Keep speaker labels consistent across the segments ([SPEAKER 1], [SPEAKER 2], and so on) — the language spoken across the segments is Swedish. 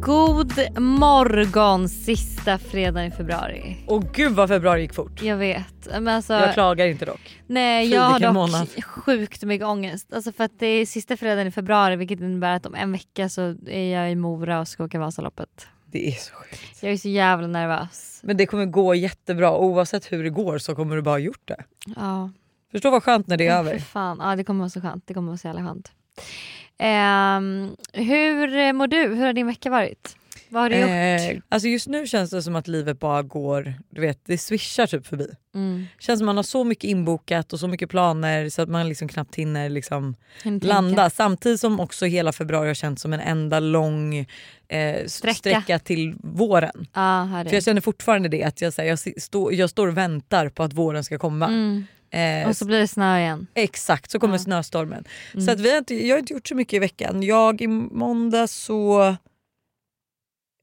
[SPEAKER 1] God morgon sista fredagen i februari.
[SPEAKER 2] Och gud vad februari gick fort.
[SPEAKER 1] Jag vet. Men alltså,
[SPEAKER 2] Jag klagar inte dock.
[SPEAKER 1] nej, jag har dock
[SPEAKER 2] vilken månad.
[SPEAKER 1] sjukt mycket ångest. Alltså för att det är sista fredagen i februari vilket innebär att om en vecka så är jag i Mora och ska åka Vasaloppet.
[SPEAKER 2] Det är så sjukt.
[SPEAKER 1] Jag är så jävla nervös.
[SPEAKER 2] Men det kommer gå jättebra oavsett hur det går så kommer du bara ha gjort det.
[SPEAKER 1] Ja,
[SPEAKER 2] Förstå vad skönt när det är
[SPEAKER 1] för
[SPEAKER 2] över.
[SPEAKER 1] fan. Ja, det kommer vara så skönt. Det kommer vara så jävla skönt. Ehm, hur mår du? Hur har din vecka varit? Vad har du gjort?
[SPEAKER 2] Eh, alltså just nu känns det som att livet bara går, du vet det swishar typ förbi.
[SPEAKER 1] Mm.
[SPEAKER 2] Känns som man har så mycket inbokat och så mycket planer så att man liksom knappt hinner liksom
[SPEAKER 1] Hinner tänka.
[SPEAKER 2] landa. Samtidigt som också hela februari har känts som en enda lång eh,
[SPEAKER 1] Sträcka.
[SPEAKER 2] sträcka. sträcka till våren.
[SPEAKER 1] Ja, här är
[SPEAKER 2] För jag
[SPEAKER 1] det.
[SPEAKER 2] känner fortfarande det att jag, så här, jag, si- står- jag står och väntar på att våren ska komma.
[SPEAKER 1] Mm.
[SPEAKER 2] Eh,
[SPEAKER 1] Och så blir det snö igen.
[SPEAKER 2] Exakt, så kommer
[SPEAKER 1] Ja. Mm.
[SPEAKER 2] snöstormen. Så att vi har inte, jag har inte gjort så mycket i veckan. Jag i måndag så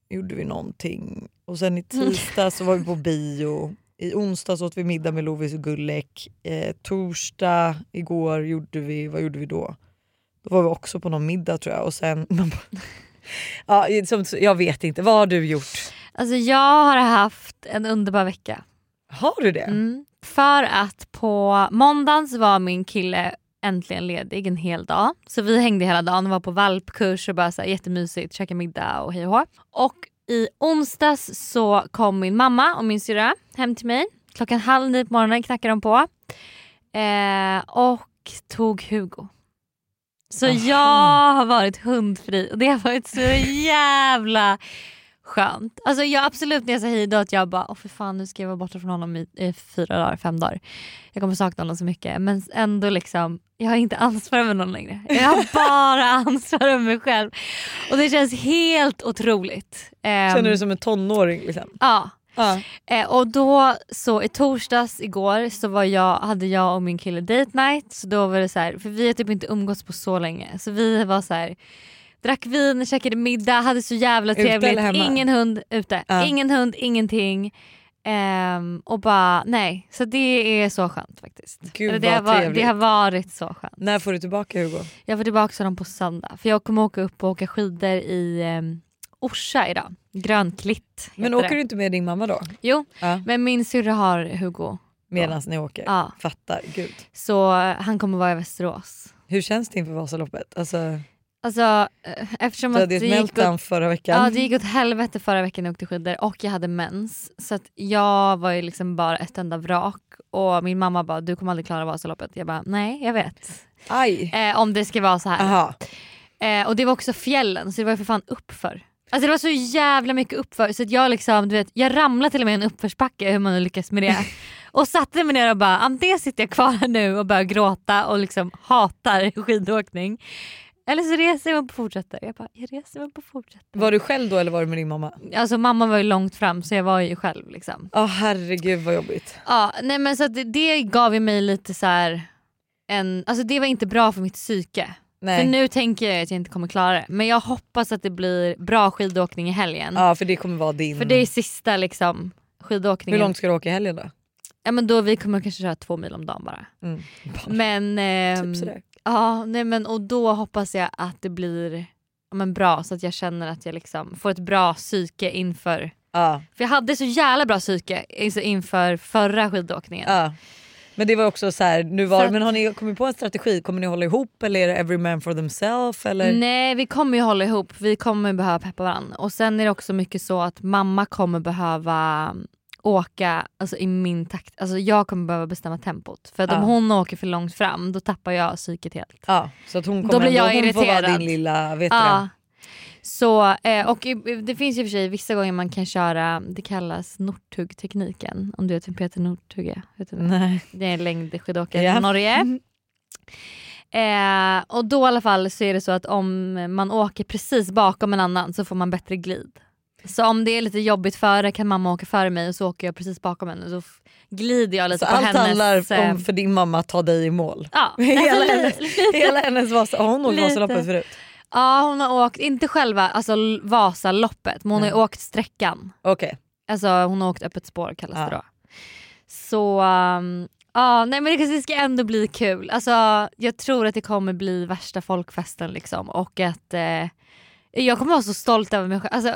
[SPEAKER 2] gjorde vi någonting och sen i
[SPEAKER 1] Mm.
[SPEAKER 2] tisdag så var vi på bio. I onsdag så åt vi middag med Lovis och Gullek. Eh, torsdag igår gjorde vi, vad gjorde vi då? Då var vi också på någon middag tror jag och sen... ja, som, jag vet inte, vad har du gjort?
[SPEAKER 1] Alltså jag har haft en underbar vecka.
[SPEAKER 2] Har du det?
[SPEAKER 1] Mm. För att på måndagen så var min kille äntligen ledig en hel dag. Så vi hängde hela dagen och var på valpkurs och bara så här, jättemysigt, käka middag och hej och hå. Och i onsdags så kom min mamma och min syrra hem till mig. Klockan halv nio på morgonen knackade de på. Eh, och tog Hugo. Så
[SPEAKER 2] Aha.
[SPEAKER 1] jag har varit hundfri och det har varit så jävla skönt. Alltså jag absolut när jag säger hej då att jag bara, åh för fan nu ska jag vara borta från honom i, i fyra dagar, fem dagar. Jag kommer sakna honom så mycket men ändå liksom, jag har inte ansvar över någon längre. Jag har bara ansvar över mig själv. Och det känns helt otroligt. Ehm,
[SPEAKER 2] Känner du dig som en tonåring? Liksom?
[SPEAKER 1] Ja.
[SPEAKER 2] Ja.
[SPEAKER 1] Eh, och då så i torsdags igår så var jag, hade jag och min kille date night. Så då var det så här, för vi har typ inte umgåtts på så länge. Så vi var så här, drack vin, käkade middag, hade så jävla
[SPEAKER 2] Ute
[SPEAKER 1] trevligt.
[SPEAKER 2] eller hemma?
[SPEAKER 1] Ingen hund ute.
[SPEAKER 2] Ja.
[SPEAKER 1] Ingen hund, ingenting. Ehm, och bara nej. Så det är så skönt faktiskt.
[SPEAKER 2] Gud,
[SPEAKER 1] Eller det,
[SPEAKER 2] vad
[SPEAKER 1] har var, det
[SPEAKER 2] trevligt.
[SPEAKER 1] har varit så skönt.
[SPEAKER 2] När får du tillbaka Hugo?
[SPEAKER 1] Jag får tillbaka honom på söndag. För jag kommer åka upp och åka skidor i ehm, Orsa idag. Grönklitt
[SPEAKER 2] Men
[SPEAKER 1] heter
[SPEAKER 2] åker
[SPEAKER 1] det.
[SPEAKER 2] du inte med din mamma då?
[SPEAKER 1] Jo,
[SPEAKER 2] Ja.
[SPEAKER 1] men min syrra har Hugo.
[SPEAKER 2] Medan ni åker?
[SPEAKER 1] Ja.
[SPEAKER 2] Fattar, gud.
[SPEAKER 1] Så eh, han kommer vara i Västerås.
[SPEAKER 2] Hur känns det inför Vasaloppet? Alltså,
[SPEAKER 1] Alltså eh, eftersom
[SPEAKER 2] du
[SPEAKER 1] att
[SPEAKER 2] hade
[SPEAKER 1] det gick,
[SPEAKER 2] ett
[SPEAKER 1] åt,
[SPEAKER 2] meltdown förra veckan.
[SPEAKER 1] ja, det gick åt helvete förra veckan när jag åkte skidor och jag hade mens. Så att jag var ju liksom bara ett enda vrak och min mamma bara du kommer aldrig klara Vasaloppet. Jag bara nej jag vet.
[SPEAKER 2] Aj!
[SPEAKER 1] Eh, om det ska vara så här.
[SPEAKER 2] Aha.
[SPEAKER 1] Eh, och det var också fjällen så det var ju för fan uppför. Alltså det var så jävla mycket uppför så att jag liksom, du vet, jag ramlade till och med i en uppförsbacke hur man nu lyckas med det. och satte mig ner och bara antingen sitter jag kvar här nu och börjar gråta och liksom hatar skidåkning. Eller så reser jag mig upp och fortsätter. Jag bara, jag reser mig upp och fortsätter.
[SPEAKER 2] Var du själv då eller var du med din mamma?
[SPEAKER 1] Alltså mamma var ju långt fram så jag var ju själv liksom.
[SPEAKER 2] Ja herregud vad jobbigt.
[SPEAKER 1] Ja, nej men så att det, det gav ju mig lite så här en, alltså det var inte bra för mitt psyke.
[SPEAKER 2] Nej.
[SPEAKER 1] För nu tänker jag att jag inte kommer klara det. Men jag hoppas att det blir bra skidåkning i helgen.
[SPEAKER 2] Ja för det kommer vara din.
[SPEAKER 1] För det är sista liksom,
[SPEAKER 2] Hur
[SPEAKER 1] skidåkningen.
[SPEAKER 2] långt ska du åka i helgen då? Typ
[SPEAKER 1] Ja, men då vi kommer kanske köra två mil om dagen bara.
[SPEAKER 2] Mm.
[SPEAKER 1] Men, ehm,
[SPEAKER 2] typ sådär.
[SPEAKER 1] ja, nej, men och då hoppas jag att det blir ja, men bra så att jag känner att jag liksom får ett bra psyke inför.
[SPEAKER 2] Ja,
[SPEAKER 1] För jag hade så jävla bra psyke alltså, inför förra skidåkningen.
[SPEAKER 2] ja. Men det var också så här, nu var
[SPEAKER 1] Så
[SPEAKER 2] det-
[SPEAKER 1] att-
[SPEAKER 2] men har ni kommit på en strategi? Kommer ni hålla ihop eller är det every man for themself? Eller?
[SPEAKER 1] Nej vi kommer ju hålla ihop, vi kommer behöva peppa varandra. Och sen är det också mycket så att mamma kommer behöva mm, åka alltså, i min takt. Alltså, jag kommer behöva bestämma tempot. För att om
[SPEAKER 2] Ja.
[SPEAKER 1] hon åker för långt fram då tappar jag psyket helt.
[SPEAKER 2] Ja, så att hon
[SPEAKER 1] Då
[SPEAKER 2] kommer
[SPEAKER 1] blir jag
[SPEAKER 2] ändå, hon får vara
[SPEAKER 1] irriterad.
[SPEAKER 2] din lilla, vet du
[SPEAKER 1] Ja.
[SPEAKER 2] det?
[SPEAKER 1] Så, eh, och i- det finns ju i och för sig vissa gånger man kan köra, det kallas Northug-tekniken. Om du vet vem Peter Northug är? Vet du vem?
[SPEAKER 2] Nej.
[SPEAKER 1] Det är en längdskidåkare
[SPEAKER 2] Ja. Mm.
[SPEAKER 1] från Norge. Eh, och då i alla fall så är det så att om man åker precis bakom en annan så får man bättre glid. Så om det är lite jobbigt före kan mamma åka före mig och så åker jag precis bakom henne. Så f- glider jag
[SPEAKER 2] Så
[SPEAKER 1] lite på
[SPEAKER 2] allt
[SPEAKER 1] hennes...
[SPEAKER 2] handlar
[SPEAKER 1] eh,
[SPEAKER 2] om för din mamma att ta dig i mål.
[SPEAKER 1] Ja,
[SPEAKER 2] Hela
[SPEAKER 1] Alltså,
[SPEAKER 2] hennes, hela hennes Vasa, har hon åkt
[SPEAKER 1] Lite.
[SPEAKER 2] Vasaloppet förut?
[SPEAKER 1] ja hon har åkt, inte själva alltså, L- Vasaloppet men hon har ju åkt sträckan.
[SPEAKER 2] Okej.
[SPEAKER 1] Alltså hon har åkt öppet spår kallas det
[SPEAKER 2] Ja.
[SPEAKER 1] då. Så um, ja, nej men det kanske ska ändå bli kul. Alltså jag tror att det kommer bli värsta folkfesten liksom och att eh, jag kommer vara så stolt över mig själv. Alltså,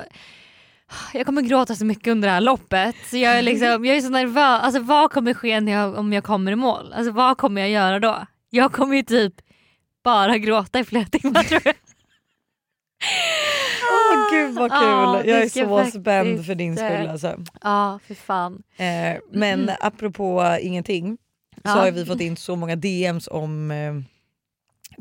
[SPEAKER 1] jag kommer gråta så mycket under det här loppet. Så jag, är liksom, jag är så nervös. Alltså, vad kommer ske när jag, om jag kommer i mål? Alltså, vad kommer jag göra då? Jag kommer ju typ bara gråta i flera timmar tror jag.
[SPEAKER 2] Åh, gud vad kul,
[SPEAKER 1] Ja, det
[SPEAKER 2] jag är
[SPEAKER 1] ska
[SPEAKER 2] så
[SPEAKER 1] faktiskt,
[SPEAKER 2] spänd för din skull
[SPEAKER 1] eh,
[SPEAKER 2] alltså.
[SPEAKER 1] Ja, för fan.
[SPEAKER 2] Eh, men apropå ingenting så
[SPEAKER 1] Ja.
[SPEAKER 2] har vi fått in så många DMs om eh,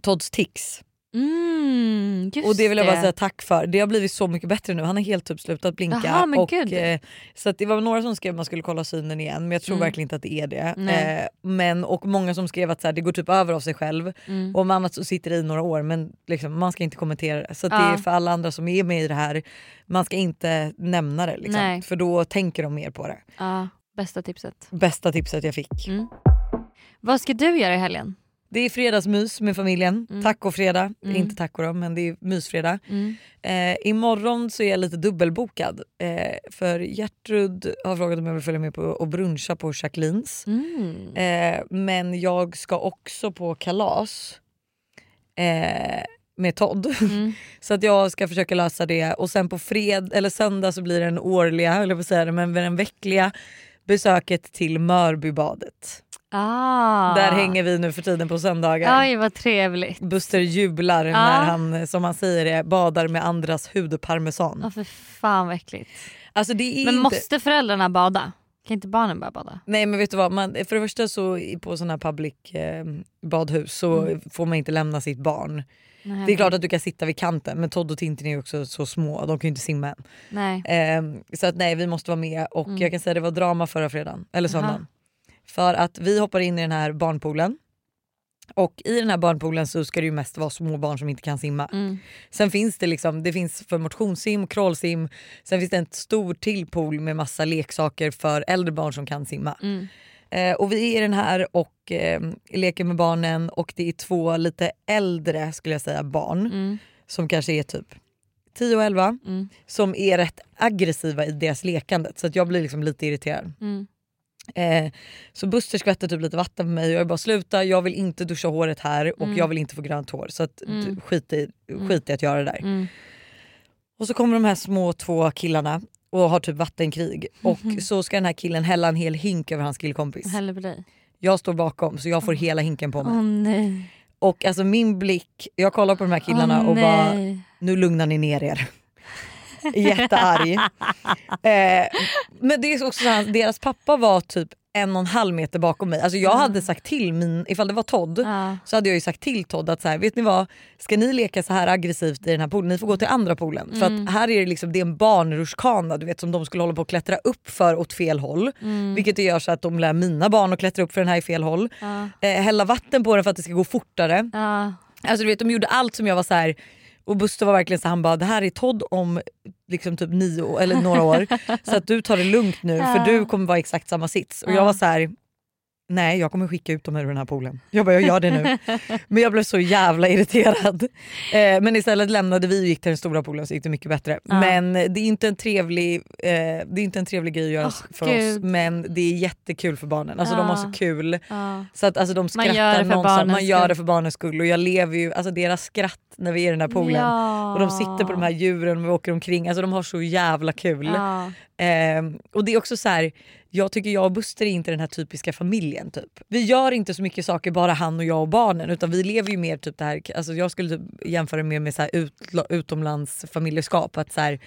[SPEAKER 2] Todds tics.
[SPEAKER 1] Mm, just
[SPEAKER 2] Och det vill jag bara säga tack för. Det har blivit så mycket bättre nu. Han har helt typ slutat blinka.
[SPEAKER 1] Jaha, men
[SPEAKER 2] och,
[SPEAKER 1] gud.
[SPEAKER 2] eh, så att det var några som skrev att man skulle kolla synen igen men jag tror
[SPEAKER 1] Mm.
[SPEAKER 2] verkligen inte att det är det.
[SPEAKER 1] Nej.
[SPEAKER 2] Eh, men, och många som skrev att så här, det går typ över av sig själv.
[SPEAKER 1] Mm.
[SPEAKER 2] Och om annat så sitter det i några år men liksom, man ska inte kommentera det. Så att det
[SPEAKER 1] Ja.
[SPEAKER 2] är för alla andra som är med i det här, man ska inte nämna det. Liksom,
[SPEAKER 1] Nej.
[SPEAKER 2] för då tänker de mer på det.
[SPEAKER 1] Ja, bästa tipset.
[SPEAKER 2] Bästa tipset jag fick.
[SPEAKER 1] Mm. Vad ska du göra i helgen?
[SPEAKER 2] Det är fredagsmys med familjen.
[SPEAKER 1] Mm.
[SPEAKER 2] Tacofredag.
[SPEAKER 1] Mm.
[SPEAKER 2] Inte taco då, men det är mysfredag.
[SPEAKER 1] Mm.
[SPEAKER 2] Eh, imorgon så är jag lite dubbelbokad. Eh, för Gertrud har frågat om jag vill följa med på och bruncha på Jacquelines.
[SPEAKER 1] Mm.
[SPEAKER 2] Eh, men jag ska också på kalas eh, med Todd.
[SPEAKER 1] Mm.
[SPEAKER 2] så att jag ska försöka lösa det. Och sen på fred, eller söndag så blir det den årliga, eller vad säger det, men den veckliga besöket till Mörbybadet.
[SPEAKER 1] Ah.
[SPEAKER 2] Där hänger vi nu för tiden på söndagar.
[SPEAKER 1] Oj vad trevligt.
[SPEAKER 2] Buster jublar när han, som han säger det, badar med andras hudparmesan.
[SPEAKER 1] Ja, för fan vad äckligt.
[SPEAKER 2] Alltså det är
[SPEAKER 1] Men
[SPEAKER 2] inte...
[SPEAKER 1] måste föräldrarna bada? Kan inte barnen bara bada?
[SPEAKER 2] Nej men vet du vad, man, för det första så i- på sådana här public eh, badhus så får man inte lämna sitt barn.
[SPEAKER 1] Mm. Nej,
[SPEAKER 2] Det är klart att du kan sitta vid kanten men Todd och Tintin är ju också så små, de kan ju inte simma än.
[SPEAKER 1] Nej.
[SPEAKER 2] Ehm, så att nej vi måste vara med och
[SPEAKER 1] Mm.
[SPEAKER 2] jag kan säga det var drama förra fredagen, eller söndagen. För att vi hoppar in i den här barnpoolen och i den här barnpoolen så ska det ju mest vara små barn som inte kan simma.
[SPEAKER 1] Mm.
[SPEAKER 2] Sen finns det liksom, det finns för motionssim, crawlsim, sen finns det en stor till pool med massa leksaker för äldre barn som kan simma.
[SPEAKER 1] Mm.
[SPEAKER 2] Eh, och vi är i den här och eh, leker med barnen och det är två lite äldre skulle jag säga barn
[SPEAKER 1] Mm.
[SPEAKER 2] som kanske är typ 10 och 11
[SPEAKER 1] Mm.
[SPEAKER 2] som är rätt aggressiva i deras lekande så att jag blir liksom lite irriterad.
[SPEAKER 1] Mm.
[SPEAKER 2] Eh, så Buster skvätter typ lite vatten på mig och jag bara sluta, jag vill inte duscha håret här och jag vill inte få grönt hår så att,
[SPEAKER 1] Mm.
[SPEAKER 2] du- skit, i, skit i att göra det där.
[SPEAKER 1] Mm.
[SPEAKER 2] Och så kommer de här små två killarna och har typ vattenkrig
[SPEAKER 1] Mhm.
[SPEAKER 2] och så ska den här killen hälla en hel hink över hans killkompis.
[SPEAKER 1] Hellre på dig.
[SPEAKER 2] Jag står bakom så
[SPEAKER 1] Mm.
[SPEAKER 2] jag får hela hinken på mig.
[SPEAKER 1] Åh nej.
[SPEAKER 2] Och alltså min blick, jag kollar på de här killarna
[SPEAKER 1] Åh,
[SPEAKER 2] och bara
[SPEAKER 1] nej.
[SPEAKER 2] nu lugnar ni ner er. Jättearg. eh, men det är också så här, deras pappa var typ en och en halv meter bakom mig. Alltså jag hade sagt till min, ifall det var Todd,
[SPEAKER 1] Ja.
[SPEAKER 2] så hade jag ju sagt till Todd att så här, vet ni vad, ska ni leka så här aggressivt i den här poolen, ni får gå till andra poolen. För att här är det liksom, det är en barnrutschkana du vet som de skulle hålla på att klättra upp för åt fel håll. Vilket det gör så att de lär mina barn att klättra upp för den här i fel håll. Eh, hälla vatten på den för att det ska gå fortare.
[SPEAKER 1] Ja.
[SPEAKER 2] Alltså du vet de gjorde allt som jag var så här. Och Buster var verkligen så han bara det här är Todd om liksom typ nio år, eller några år så att du tar det lugnt nu för du kommer vara i exakt samma sits. Och jag var så här. nej jag kommer skicka ut dem ur den här poolen. Jag bara jag gör det nu. men jag blev så jävla irriterad. Eh, men istället lämnade vi och gick till den stora poolen så gick det mycket bättre. Men det är inte en trevlig, eh, det är inte en trevlig grej att göra
[SPEAKER 1] Åh,
[SPEAKER 2] för oss
[SPEAKER 1] Gud.
[SPEAKER 2] men det är jättekul för barnen. Alltså de har så
[SPEAKER 1] Ja.
[SPEAKER 2] kul.
[SPEAKER 1] Ja.
[SPEAKER 2] Så att alltså, de
[SPEAKER 1] Man gör
[SPEAKER 2] skrattar
[SPEAKER 1] det för
[SPEAKER 2] någonstans. Man
[SPEAKER 1] barnens
[SPEAKER 2] gör
[SPEAKER 1] skull.
[SPEAKER 2] det för barnens skull. Och jag lever ju, alltså deras skratt när vi är i den här poolen.
[SPEAKER 1] Ja.
[SPEAKER 2] Och de sitter på de här djuren och vi åker omkring. Alltså de har så jävla kul.
[SPEAKER 1] Ja.
[SPEAKER 2] Ehm, och det är också så här, jag tycker jag och Buster är inte den här typiska familjen typ. Vi gör inte så mycket saker bara han och jag och barnen utan vi lever ju mer typ det här, alltså jag skulle typ jämföra mer med så här utla- utomlandsfamiljeskap. Att så här,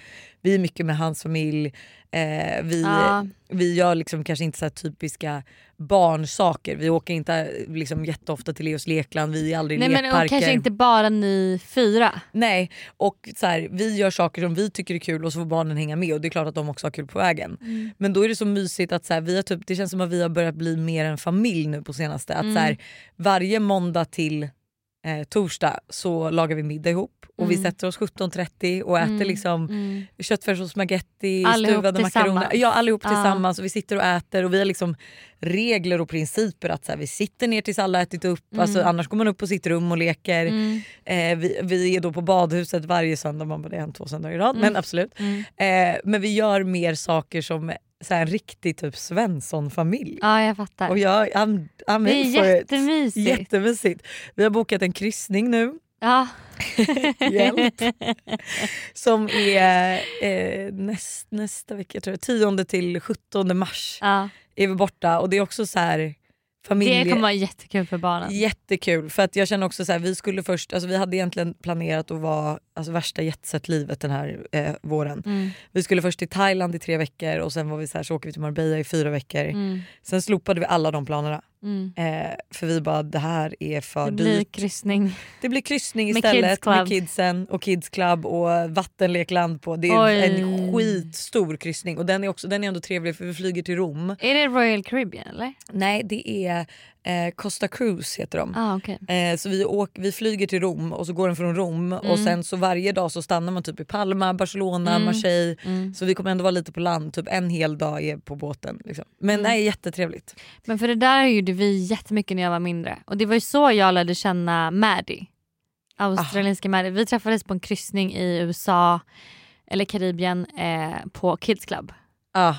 [SPEAKER 2] vi är mycket med hans familj, eh, vi,
[SPEAKER 1] Ja.
[SPEAKER 2] vi gör liksom kanske inte så här typiska barnsaker. Vi åker inte eh, liksom jätteofta till Leos lekland, vi är aldrig i
[SPEAKER 1] Nej men och
[SPEAKER 2] lekparker.
[SPEAKER 1] kanske inte bara ni fyra.
[SPEAKER 2] Nej, och så här, vi gör saker som vi tycker är kul och så får barnen hänga med och det är klart att de också har kul på vägen. Men då är det så mysigt att så här, vi har typ, det känns som att vi har börjat bli mer en familj nu på senaste. Att så här, varje måndag till eh, torsdag så lagar vi middag ihop och vi sätter oss 17.30 och äter liksom köttfärs och spagetti,
[SPEAKER 1] Allihop
[SPEAKER 2] stuvade makaroner.
[SPEAKER 1] tillsammans.
[SPEAKER 2] Ja, allihop
[SPEAKER 1] Ja.
[SPEAKER 2] tillsammans. Och vi sitter och äter och vi har liksom regler och principer att så här, vi sitter ner tills alla har ätit upp.
[SPEAKER 1] Mm.
[SPEAKER 2] Alltså, annars går man upp på sitt rum och leker. Eh, vi, vi är då på badhuset varje söndag, man bara, det har hänt två söndagar i rad. Men
[SPEAKER 1] Mm.
[SPEAKER 2] absolut. Eh, men vi gör mer saker som så här, en riktig typ Svensson-familj.
[SPEAKER 1] Ja jag fattar.
[SPEAKER 2] Och jag, I'm, I'm
[SPEAKER 1] det är
[SPEAKER 2] in for it.
[SPEAKER 1] jättemysigt.
[SPEAKER 2] Jättemysigt. Vi har bokat en kryssning nu.
[SPEAKER 1] ja.
[SPEAKER 2] Hjälp. som är eh, näst, nästa vecka, jag tror jag, 10 till 17 mars
[SPEAKER 1] Ja.
[SPEAKER 2] är vi borta. Och det är också så här familje...
[SPEAKER 1] Det kommer vara jättekul för barnen.
[SPEAKER 2] Jättekul för att jag känner också så här, vi skulle först, alltså vi hade egentligen planerat att vara alltså värsta jetset-livet den här eh, våren.
[SPEAKER 1] Mm.
[SPEAKER 2] Vi skulle först till Thailand i tre veckor och sen var vi så här, så åker vi till Marbella i fyra veckor.
[SPEAKER 1] Mm.
[SPEAKER 2] Sen slopade vi alla de planerna. Eh, för vi bara det här är för
[SPEAKER 1] Det blir
[SPEAKER 2] dyrt.
[SPEAKER 1] kryssning.
[SPEAKER 2] Det blir kryssning
[SPEAKER 1] Med
[SPEAKER 2] istället
[SPEAKER 1] Kids Club.
[SPEAKER 2] med kidsen och kids club och vattenlekland på. Det är
[SPEAKER 1] Oj.
[SPEAKER 2] en skitstor kryssning och den är, också, den är ändå trevlig för vi flyger till Rom.
[SPEAKER 1] Är det Royal Caribbean eller?
[SPEAKER 2] Nej det är eh, Costa Cruise heter de.
[SPEAKER 1] Ah, okay.
[SPEAKER 2] Eh, så vi, åk, vi flyger till Rom och så går den från Rom och sen så varje dag så stannar man typ i Palma, Barcelona, Marseille. Så vi kommer ändå vara lite på land, typ en hel dag är på båten. Liksom. Men nej jättetrevligt.
[SPEAKER 1] Men för det där gjorde vi jättemycket när jag var mindre. Och det var ju så jag lärde känna Maddie.
[SPEAKER 2] Ah.
[SPEAKER 1] Australienska Maddie. Vi träffades på en kryssning i USA eller Karibien eh, på Kids Club.
[SPEAKER 2] Ah,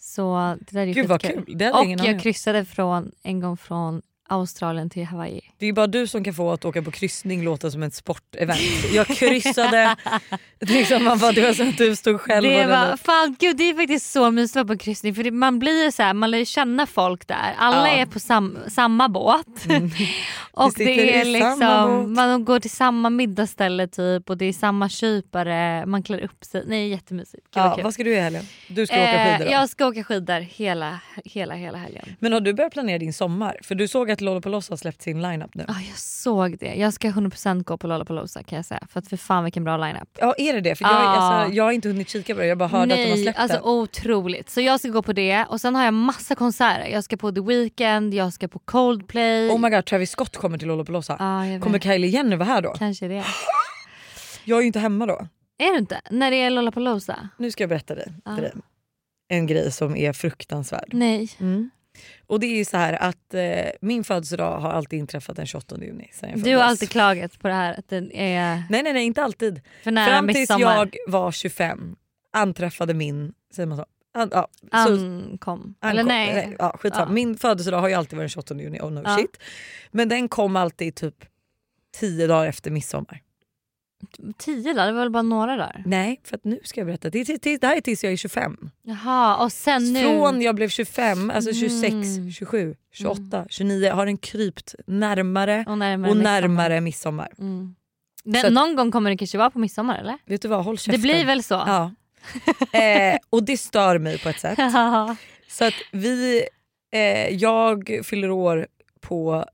[SPEAKER 1] Så det där är ju
[SPEAKER 2] gud vad
[SPEAKER 1] skitkul.
[SPEAKER 2] kul, det hade jag ingen
[SPEAKER 1] Och
[SPEAKER 2] aning
[SPEAKER 1] jag
[SPEAKER 2] om.
[SPEAKER 1] kryssade från, en gång från Australien till Hawaii.
[SPEAKER 2] Det är bara du som kan få att åka på kryssning låta som ett sportevent. Jag kryssade, liksom, man bara, det var som att du stod själv
[SPEAKER 1] Det
[SPEAKER 2] och
[SPEAKER 1] var, fan gud det är faktiskt så mysigt att vara på en kryssning för det, man blir ju så här, man lär ju känna folk där. Alla
[SPEAKER 2] Ja. Mm.
[SPEAKER 1] är på sam, samma båt. och
[SPEAKER 2] Vi sitter
[SPEAKER 1] det är
[SPEAKER 2] i samma båt.
[SPEAKER 1] liksom, man går till samma middagsställe typ och det är samma kypare, man klär upp sig. Nej jättemysigt. Gud,
[SPEAKER 2] ja,
[SPEAKER 1] vad kul.
[SPEAKER 2] Vad ska du göra i helgen? Du ska åka
[SPEAKER 1] Eh,
[SPEAKER 2] skidor då.
[SPEAKER 1] jag ska åka skidor hela, hela, hela helgen.
[SPEAKER 2] Men har du börjat planera din sommar? För du såg att Lollapalooza har släppt sin lineup nu.
[SPEAKER 1] Ja, jag såg det. Jag ska 100% gå på Lollapalooza kan jag säga. För att för fan vilken bra lineup.
[SPEAKER 2] Ja är det det? För jag,
[SPEAKER 1] Ah.
[SPEAKER 2] alltså, jag har inte hunnit kika på det, jag bara hörde att de har
[SPEAKER 1] Nej,
[SPEAKER 2] släppt
[SPEAKER 1] alltså
[SPEAKER 2] den.
[SPEAKER 1] otroligt. Så jag ska gå på det och sen har jag massa konserter. Jag ska på The Weeknd, jag ska på Coldplay.
[SPEAKER 2] Oh my god, Travis Scott kommer till Lollapalooza.
[SPEAKER 1] Ja, Ah, jag vet.
[SPEAKER 2] kommer Kylie Jenner vara här då?
[SPEAKER 1] Kanske det.
[SPEAKER 2] Jag är ju inte hemma då.
[SPEAKER 1] Är du inte? När det är Lollapalooza?
[SPEAKER 2] Nu ska jag berätta dig,
[SPEAKER 1] Ah.
[SPEAKER 2] för dig en grej som är fruktansvärd.
[SPEAKER 1] Nej.
[SPEAKER 2] Och det är ju så här att eh, min födelsedag har alltid inträffat den 28 juni. Sen jag
[SPEAKER 1] Du
[SPEAKER 2] föddes.
[SPEAKER 1] har alltid klagat på det här att den är
[SPEAKER 2] Nej nej nej inte alltid.
[SPEAKER 1] för nära
[SPEAKER 2] Fram tills
[SPEAKER 1] midsommar.
[SPEAKER 2] jag var 25 anträffade min, säger man så? An, ja, så
[SPEAKER 1] ankom. Eller
[SPEAKER 2] Ankom-
[SPEAKER 1] nej.
[SPEAKER 2] Ja, skitsamma.
[SPEAKER 1] Ja.
[SPEAKER 2] Min födelsedag har ju alltid varit den 28 juni, oh no
[SPEAKER 1] Ja.
[SPEAKER 2] shit. Men den kom alltid typ 10 dagar efter midsommar.
[SPEAKER 1] Tio där, det var väl bara några där.
[SPEAKER 2] Nej, för att nu ska jag berätta. Det, är till- till- det här är tills jag är 25.
[SPEAKER 1] Jaha och sen nu.
[SPEAKER 2] Från jag blev 25, alltså 26,
[SPEAKER 1] Mm.
[SPEAKER 2] 27, 28, 29 har den krypt närmare
[SPEAKER 1] och närmare.
[SPEAKER 2] och
[SPEAKER 1] midsommar.
[SPEAKER 2] närmare midsommar.
[SPEAKER 1] Mm.
[SPEAKER 2] Så
[SPEAKER 1] Den,
[SPEAKER 2] att-
[SPEAKER 1] någon gång kommer det kanske vara på midsommar eller?
[SPEAKER 2] Vet du vad, håll käften.
[SPEAKER 1] Det blir väl så?
[SPEAKER 2] Ja. eh, och det stör mig på ett sätt. Så att vi, eh, jag fyller år på,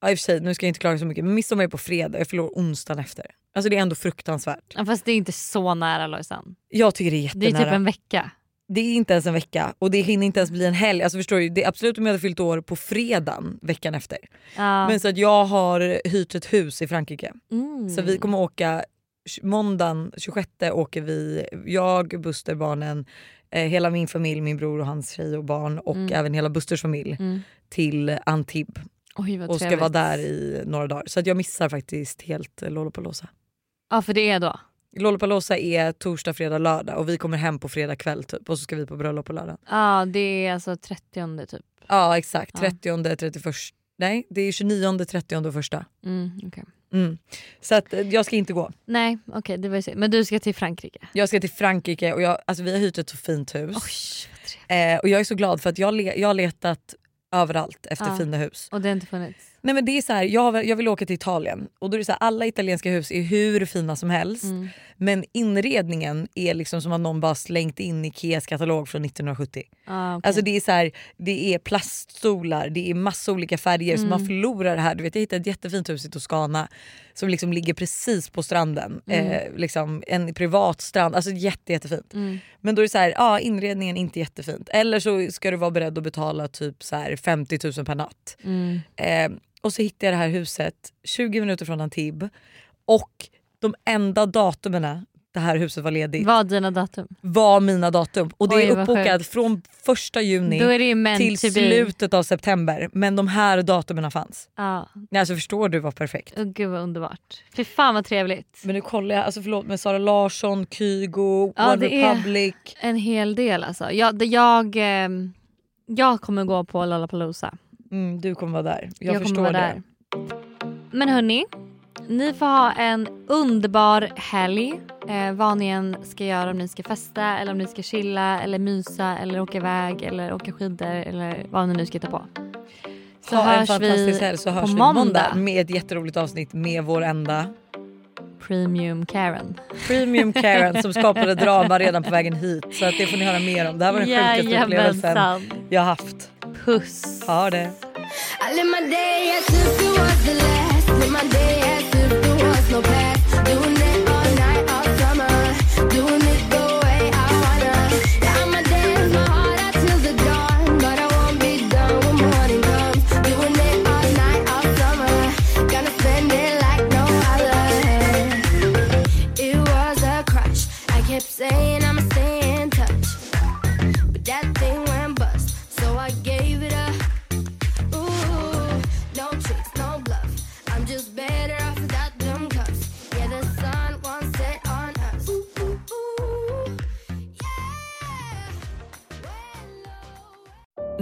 [SPEAKER 2] ja, i och för sig nu ska jag inte klaga så mycket, men midsommar är på fredag, jag fyller år onsdagen efter. Alltså det är ändå fruktansvärt.
[SPEAKER 1] Ja, Fast det är inte så nära Lojsan.
[SPEAKER 2] Jag tycker det är
[SPEAKER 1] Det är
[SPEAKER 2] jättenära.
[SPEAKER 1] typ en vecka.
[SPEAKER 2] det är inte ens en vecka och det hinner inte ens bli en helg. Alltså förstår du, det är absolut om jag hade fyllt år på fredagen veckan efter.
[SPEAKER 1] Ja.
[SPEAKER 2] Men så att jag har hyrt ett hus i Frankrike.
[SPEAKER 1] Mm.
[SPEAKER 2] Så vi kommer åka tj- måndagen 26 åker vi, jag, Buster, barnen, eh, hela min familj, min bror och hans tjej och barn och även hela Busters familj
[SPEAKER 1] Mm.
[SPEAKER 2] till Antibes
[SPEAKER 1] Oj, vad
[SPEAKER 2] och ska
[SPEAKER 1] trevligt.
[SPEAKER 2] vara där i några dagar. Så att jag missar faktiskt helt eh, Lollapalooza.
[SPEAKER 1] Ja för det är då.
[SPEAKER 2] Lollapalooza är torsdag, fredag, lördag och vi kommer hem på fredag kväll typ och så ska vi på bröllop på lördag.
[SPEAKER 1] Ja det är alltså 30 typ.
[SPEAKER 2] Ja exakt,
[SPEAKER 1] Ja.
[SPEAKER 2] 30, 31, nej det är 29, 30 och första.
[SPEAKER 1] Mm, okej.
[SPEAKER 2] Mm. Så att eh, jag ska inte gå.
[SPEAKER 1] Nej okej det var ju synd. Men du ska till Frankrike.
[SPEAKER 2] Jag ska till Frankrike och jag, alltså, vi har hyrt ett så fint
[SPEAKER 1] Oj
[SPEAKER 2] hus.
[SPEAKER 1] vad trevligt.
[SPEAKER 2] Eh, och jag är så glad för att jag, le- jag har letat överallt efter
[SPEAKER 1] Ja.
[SPEAKER 2] fina hus.
[SPEAKER 1] Och det har inte funnits.
[SPEAKER 2] Nej men det är så här, jag, vill- jag vill åka till Italien och då är det så här, alla italienska hus är hur fina som helst men inredningen är liksom som att någon bara slängt in Ikeas katalog från 1970.
[SPEAKER 1] Ah, okej.
[SPEAKER 2] Alltså det är så här, det är plaststolar, det är massa olika färger så
[SPEAKER 1] Mm.
[SPEAKER 2] man förlorar det här. Du vet, jag hittade ett jättefint hus i Toscana som liksom ligger precis på stranden.
[SPEAKER 1] Mm.
[SPEAKER 2] Eh, liksom en privat strand, alltså jätte, jättefint.
[SPEAKER 1] Mm.
[SPEAKER 2] Men då är det så här, ja inredningen är inte
[SPEAKER 1] Mm.
[SPEAKER 2] jättefint. Eller så ska du vara beredd att betala typ så här 50 000 per natt. Eh, och så hittade jag det här huset 20 minuter från Antibes och de enda datumen det här huset var ledigt
[SPEAKER 1] Vad dina datum?
[SPEAKER 2] var mina datum och det
[SPEAKER 1] Oj,
[SPEAKER 2] är
[SPEAKER 1] vad
[SPEAKER 2] uppbokat från första juni
[SPEAKER 1] Då är det ju meant
[SPEAKER 2] till
[SPEAKER 1] to be.
[SPEAKER 2] slutet av september men de här datumen fanns.
[SPEAKER 1] Ja.
[SPEAKER 2] Nej, Alltså förstår du vad perfekt?
[SPEAKER 1] Oh, gud vad underbart. Fy fan vad trevligt.
[SPEAKER 2] Men nu kollar jag, alltså förlåt men Sara Larsson, Kygo,
[SPEAKER 1] Ja,
[SPEAKER 2] One
[SPEAKER 1] det är-
[SPEAKER 2] Republic.
[SPEAKER 1] En hel del alltså. Jag, det- jag, ehm, jag kommer gå på Lollapalooza.
[SPEAKER 2] Mm, du kommer vara där. Jag,
[SPEAKER 1] kommer
[SPEAKER 2] förstår
[SPEAKER 1] vara
[SPEAKER 2] det.
[SPEAKER 1] där. Men hörni, ni får ha en underbar helg. Eh, vad ni än ska göra, om ni ska festa eller om ni ska chilla eller mysa eller åka iväg eller åka skidor eller vad ni nu ska ta på. Så
[SPEAKER 2] ha en
[SPEAKER 1] hörs
[SPEAKER 2] fantastisk
[SPEAKER 1] vi
[SPEAKER 2] helg så
[SPEAKER 1] på
[SPEAKER 2] hörs vi
[SPEAKER 1] måndag.
[SPEAKER 2] måndag med ett jätteroligt avsnitt med vår enda
[SPEAKER 1] Premium Karen.
[SPEAKER 2] Premium Karen som skapade drama redan på vägen hit. Så att det får ni höra mer om. Det här var den sjukaste upplevelsen
[SPEAKER 1] Jajamensan.
[SPEAKER 2] jag har haft.
[SPEAKER 1] Puss.
[SPEAKER 2] Ha det!
[SPEAKER 3] I live my day as if it was the last. Live my day as if there was no past. Doing it all night, all summer. Doing it the way I wanna. Yeah, I'ma dance my heart out till the dawn, but I won't be done when morning comes. Doing it all night, all summer. Gonna spend it like no other. It was a crutch. I kept saying I'ma stay in touch, but that thing went bust, so I gave it up. Ooh, no tricks, no bluff. I'm just better off without them cuffs. Yeah, the sun won't set on us. Ooh, ooh, ooh. Yeah. Well, oh.